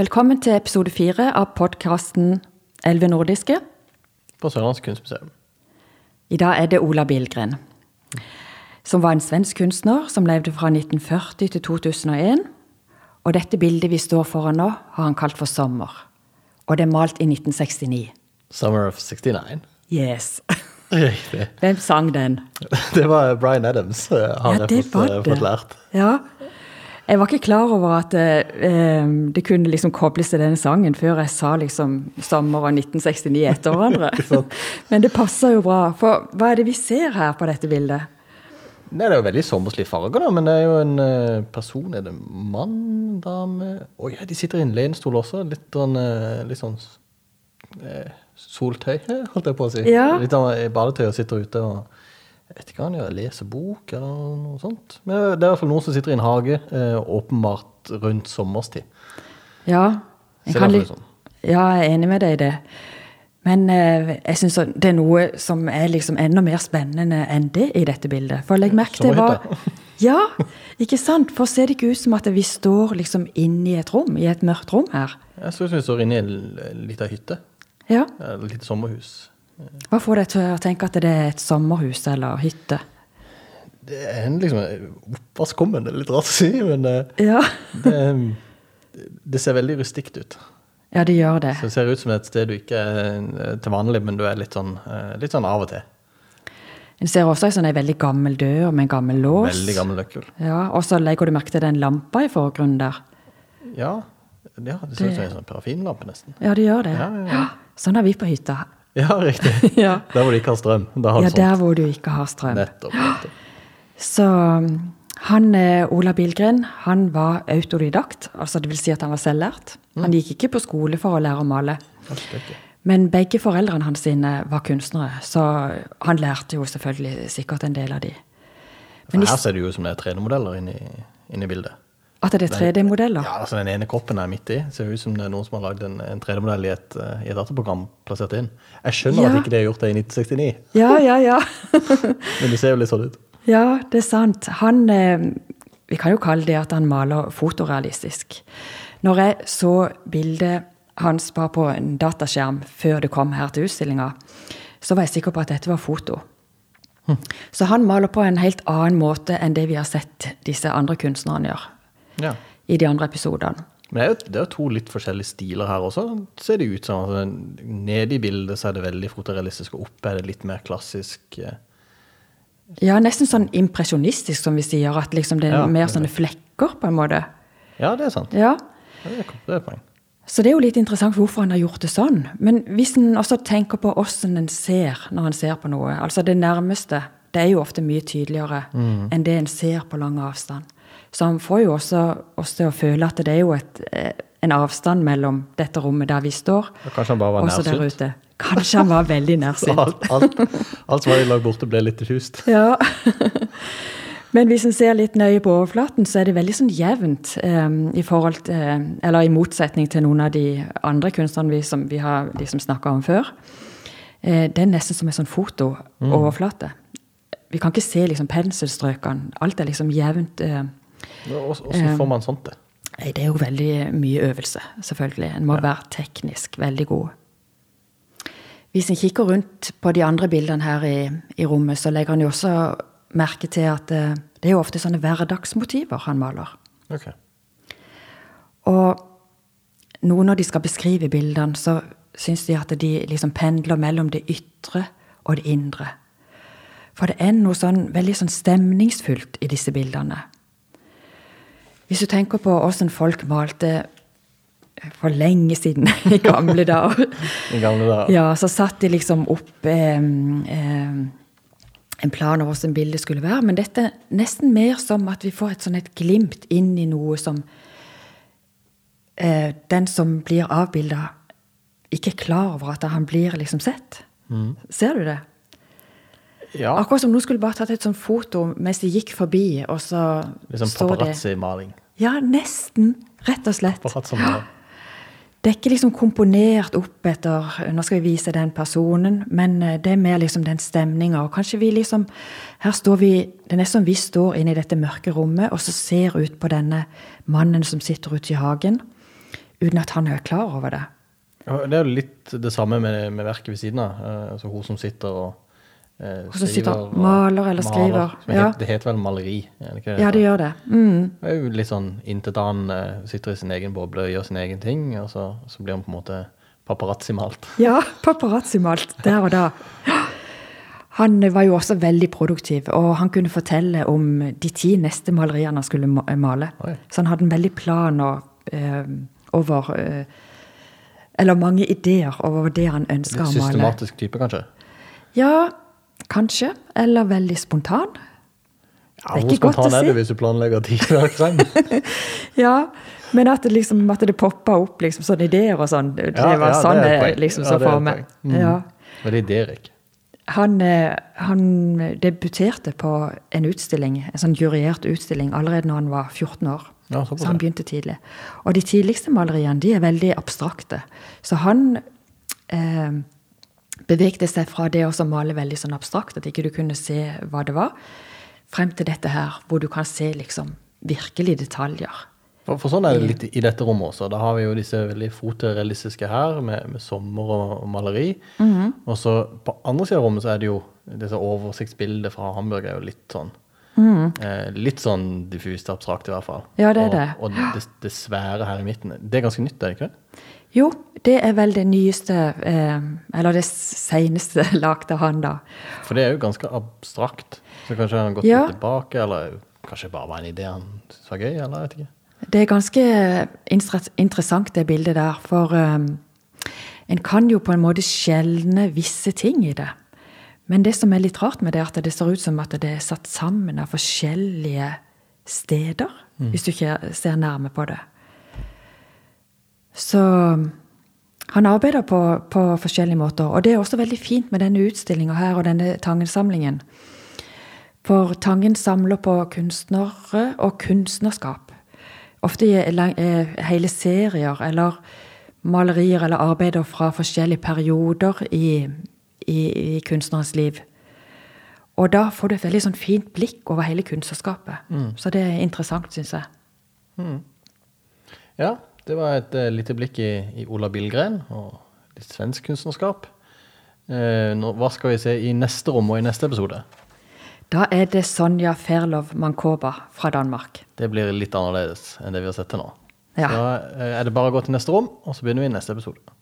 Velkommen til episode fire av podkasten Elleve nordiske. På Sørlandsk kunstmuseum. I dag er det Ola Billgren, som var en svensk kunstner som levde fra 1940 til 2001. Og dette bildet vi står foran nå, har han kalt for Sommer. Og det er malt i 1969. Summer of 69. Yes. Riktig. Hvem sang den? Det var Bryan Adams, eh, har jeg fått, eh, fått lært. Ja. Jeg var ikke klar over at eh, det kunne liksom kobles til denne sangen før jeg sa liksom sommeren 1969 etter Ikke hverandre. sant? Men det passer jo bra. For hva er det vi ser her på dette bildet? Nei, det er jo veldig sommerslige farger, da, men det er jo en eh, person Er det mann, dame Å ja, de sitter i en lenstol også. Litt sånn, eh, litt sånn eh, soltøy, eh, holdt jeg på å si. Ja. Litt sånn i badetøy og sitter ute og jeg vet ikke hva han gjør, leser bok eller noe sånt. Men det er i hvert fall noen som sitter i en hage, eh, åpenbart rundt sommerstid. Ja, Ser sånn? jeg, kan det litt- ut som. ja, jeg er enig med deg i det. Men eh, jeg syns det er noe som er liksom enda mer spennende enn det i dette bildet. For legg merke til hva Ja, ikke sant? For ser det ikke ut som at vi står liksom inne i et rom, i et mørkt rom her? Jeg synes vi står inne i en l- lita hytte. Ja. Eller et lite sommerhus. Hva får deg til å tenke at det er et sommerhus eller hytte? Det er en liksom oppvaskkommen, det er litt rart å si, men eh, Ja, det, det ser veldig rustikt ut. ja det gjør det. Så det ser ut som et sted du ikke er eh, til vanlig, men du er litt sånn, eh, litt sånn av og til. En ser også en sånn en veldig gammel dør med en gammel lås. Veldig gammel nøkkel. Ja, Og så legger du merke til den lampa i forgrunnen der. Ja, ja det ser ut som Det- en sånn parafinlampe, nesten. Ja, det gjør det. Ja, ja, ja. Sånn er vi på hytta. Ja, riktig. Ja. Der hvor de ikke har strøm. Da har Ja, du sånt. der hvor du ikke har strøm. Nettopp. nettopp. Så um, han, eh, Ola Bilgren, han var autodidakt, altså det vil si at han var selvlært. Mm. Han gikk ikke på skole for å lære å male. Alt dette. Men begge foreldrene hans sine var kunstnere, så han lærte jo selvfølgelig sikkert en del av de. Men For de- her ser det jo ut som det er 3D-modeller inni, inni bildet. At det er 3D-modeller? Ja, altså Den ene kroppen er midt i. Ser ut som det er noen som har lagd en, en 3D-modell i, et, eh, i et dataprogram. plassert inn. Jeg skjønner at Ja. ikke det er gjort det i 1969, Ja, ja, ja. men det ser jo litt sånn ut. ja, det er sant. Han eh, Vi kan jo kalle det at han maler fotorealistisk. Når jeg så bildet hans bare på en dataskjerm før det kom her til utstillinga, så var jeg sikker på at dette var foto. Så han maler på en helt annen måte enn det vi har sett disse andre kunstnerne gjøre Ja. i de andre episodene. Men det er, jo, det er jo to litt forskjellige stiler her også, ser det ut som. Altså, nede i bildet så er det veldig fotorealistisk, og oppe er det litt mer klassisk. eh. Ja, nesten sånn impresjonistisk, som vi sier, at liksom det er Ja, mer det er sånne flekker, på en måte. Ja, det er sant. Ja, Ja, Det er det er et poeng. Så det er jo litt interessant hvorfor han har gjort det sånn. Men hvis en også tenker på hvordan en ser når en ser på noe, altså det nærmeste, det er jo ofte mye tydeligere Mm. enn det en ser på lang avstand. Så han får jo også oss til å føle at det er jo et, eh, en avstand mellom dette rommet der vi står, Og kanskje han bare var og så der nærsynt. ute. Kanskje han var veldig Så nærsynt. alt, alt, alt som var i lag borte, ble litt diffust. Ja. Men hvis en ser litt nøye på overflaten, så er det veldig sånn jevnt. eh, i forhold til, Eller i motsetning til noen av de andre kunstnerne vi, som vi har liksom snakka om før. Eh, det er nesten som en sånn fotooverflate. Vi kan ikke se liksom penselstrøkene. Alt er liksom jevnt. eh. Og Åssen får man sånt til? Nei, Det er jo veldig mye øvelse, selvfølgelig. En må være teknisk veldig god. Hvis en kikker rundt på de andre bildene her i, i rommet, så legger han jo også merke til at eh, det er jo ofte sånne hverdagsmotiver han maler. Ok. Og nå når de skal beskrive bildene, så syns de at de liksom pendler mellom det ytre og det indre. For det er noe sånn veldig sånn stemningsfullt i disse bildene. Hvis du tenker på åssen folk malte eh, for lenge siden, i gamle dager I gamle dager. Ja, så satt de liksom opp eh, eh, en plan over hvordan bildet skulle være. Men dette er nesten mer som at vi får et sånn et glimt inn i noe som eh, den som blir avbilda, ikke er klar over at han blir liksom sett. Mm. Ser du det? Ja, Akkurat som noen skulle bare tatt et sånt foto mens de gikk forbi, og så Litt sånn står det paparazzi-maling. Ja, nesten. Rett og slett. Paparazzi-maling. Det er ikke liksom komponert opp etter Nå skal vi vise den personen, men eh, det er mer liksom den stemninga. Og kanskje vi liksom Her står vi Det er nesten som vi står inne i dette mørke rommet og så ser ut på denne mannen som sitter ute i hagen. uten at han er klar over det. Ja, Det er jo litt det samme med, med verket ved siden av. eh, Altså hun som sitter og eh, Hun som sitter og og maler eller skriver, som ja. het- Det heter vel maleri? er ikke Ja, det heter? gjør det. Mm. Det er jo litt sånn intetanende, sitter i sin egen boble og gjør sin egen ting, og så, så blir hun på en måte paparazzi-malt. Ja, paparazzi-malt der og da. Han var jo også veldig produktiv, og han kunne fortelle om de ti neste maleriene han skulle ma- male. Oi. Så han hadde en veldig plan og, eh, over eh, Eller mange ideer over det han ønska Litt å male. systematisk type, kanskje. Ja, kanskje. Eller veldig spontan. Ja, Det er hvor ikke godt å spontan er si. du hvis du planlegger ti verk sammen? Ja, men at det, liksom, at det poppa opp liksom, sånne ideer og sånn, det Ja, var ja, sånn det er et jeg poeng. liksom Ja, så det er et for meg. poeng. Mm. Ja. Veldig idérik. Han, eh, han debuterte på en utstilling, en sånn juryert utstilling allerede når han var 14 år. Ja, såpass, så han ja. begynte tidlig. Og de tidligste maleriene de er veldig abstrakte. Så han eh, bevegde seg fra det å så male veldig sånn abstrakt, at ikke du kunne se hva det var, frem til dette her, hvor du kan se liksom virkelig detaljer. For, for sånn er det litt i dette rommet også. Da har vi jo disse veldig fotorealistiske her, med, med sommer og, og maleri. Mhm. Og så på andre siden av rommet så er det jo disse oversiktsbildene fra Hamburg er jo litt sånn eh, Litt sånn diffust abstrakt, i hvert fall. Mhm. Ja, det er og, det. Og det, det svære her i midten. Det er ganske nytt, er det ikke det? Jo, det er vel det nyeste, eh, eller det seneste lagde han da. For det er jo ganske abstrakt. Så kanskje han har gått Ja. litt tilbake, eller kanskje bare var en idé han syntes var gøy, eller jeg vet ikke. Det er ganske instre- interessant det bildet der, for um, en kan jo på en måte skjelne visse ting i det. Men det som er litt rart med det, er at det ser ut som at det er satt sammen av forskjellige steder, hvis du ikke ser nærme på det. Så han arbeider på, på forskjellige måter, og det er også veldig fint med denne utstillinga her og denne Tangen-samlingen. For Tangen samler på kunstnere og kunstnerskap. Ofte i lang- eh, hele serier eller malerier eller arbeider fra forskjellige perioder i, i, i kunstnerens liv. Og da får du et veldig sånn fint blikk over hele kunstnerskapet. Så det er interessant, syns jeg. Ja, det var et eh, lite blikk i, i Ola Billgren og litt svensk kunstnerskap. Eh, nå, hva skal vi se i neste rom og i neste episode? Da er det Sonja Ferlov Mankoba fra Danmark. Det blir litt annerledes enn det vi har sett til nå. Ja. Så da eh, er det bare å gå til neste rom, og så begynner vi i neste episode.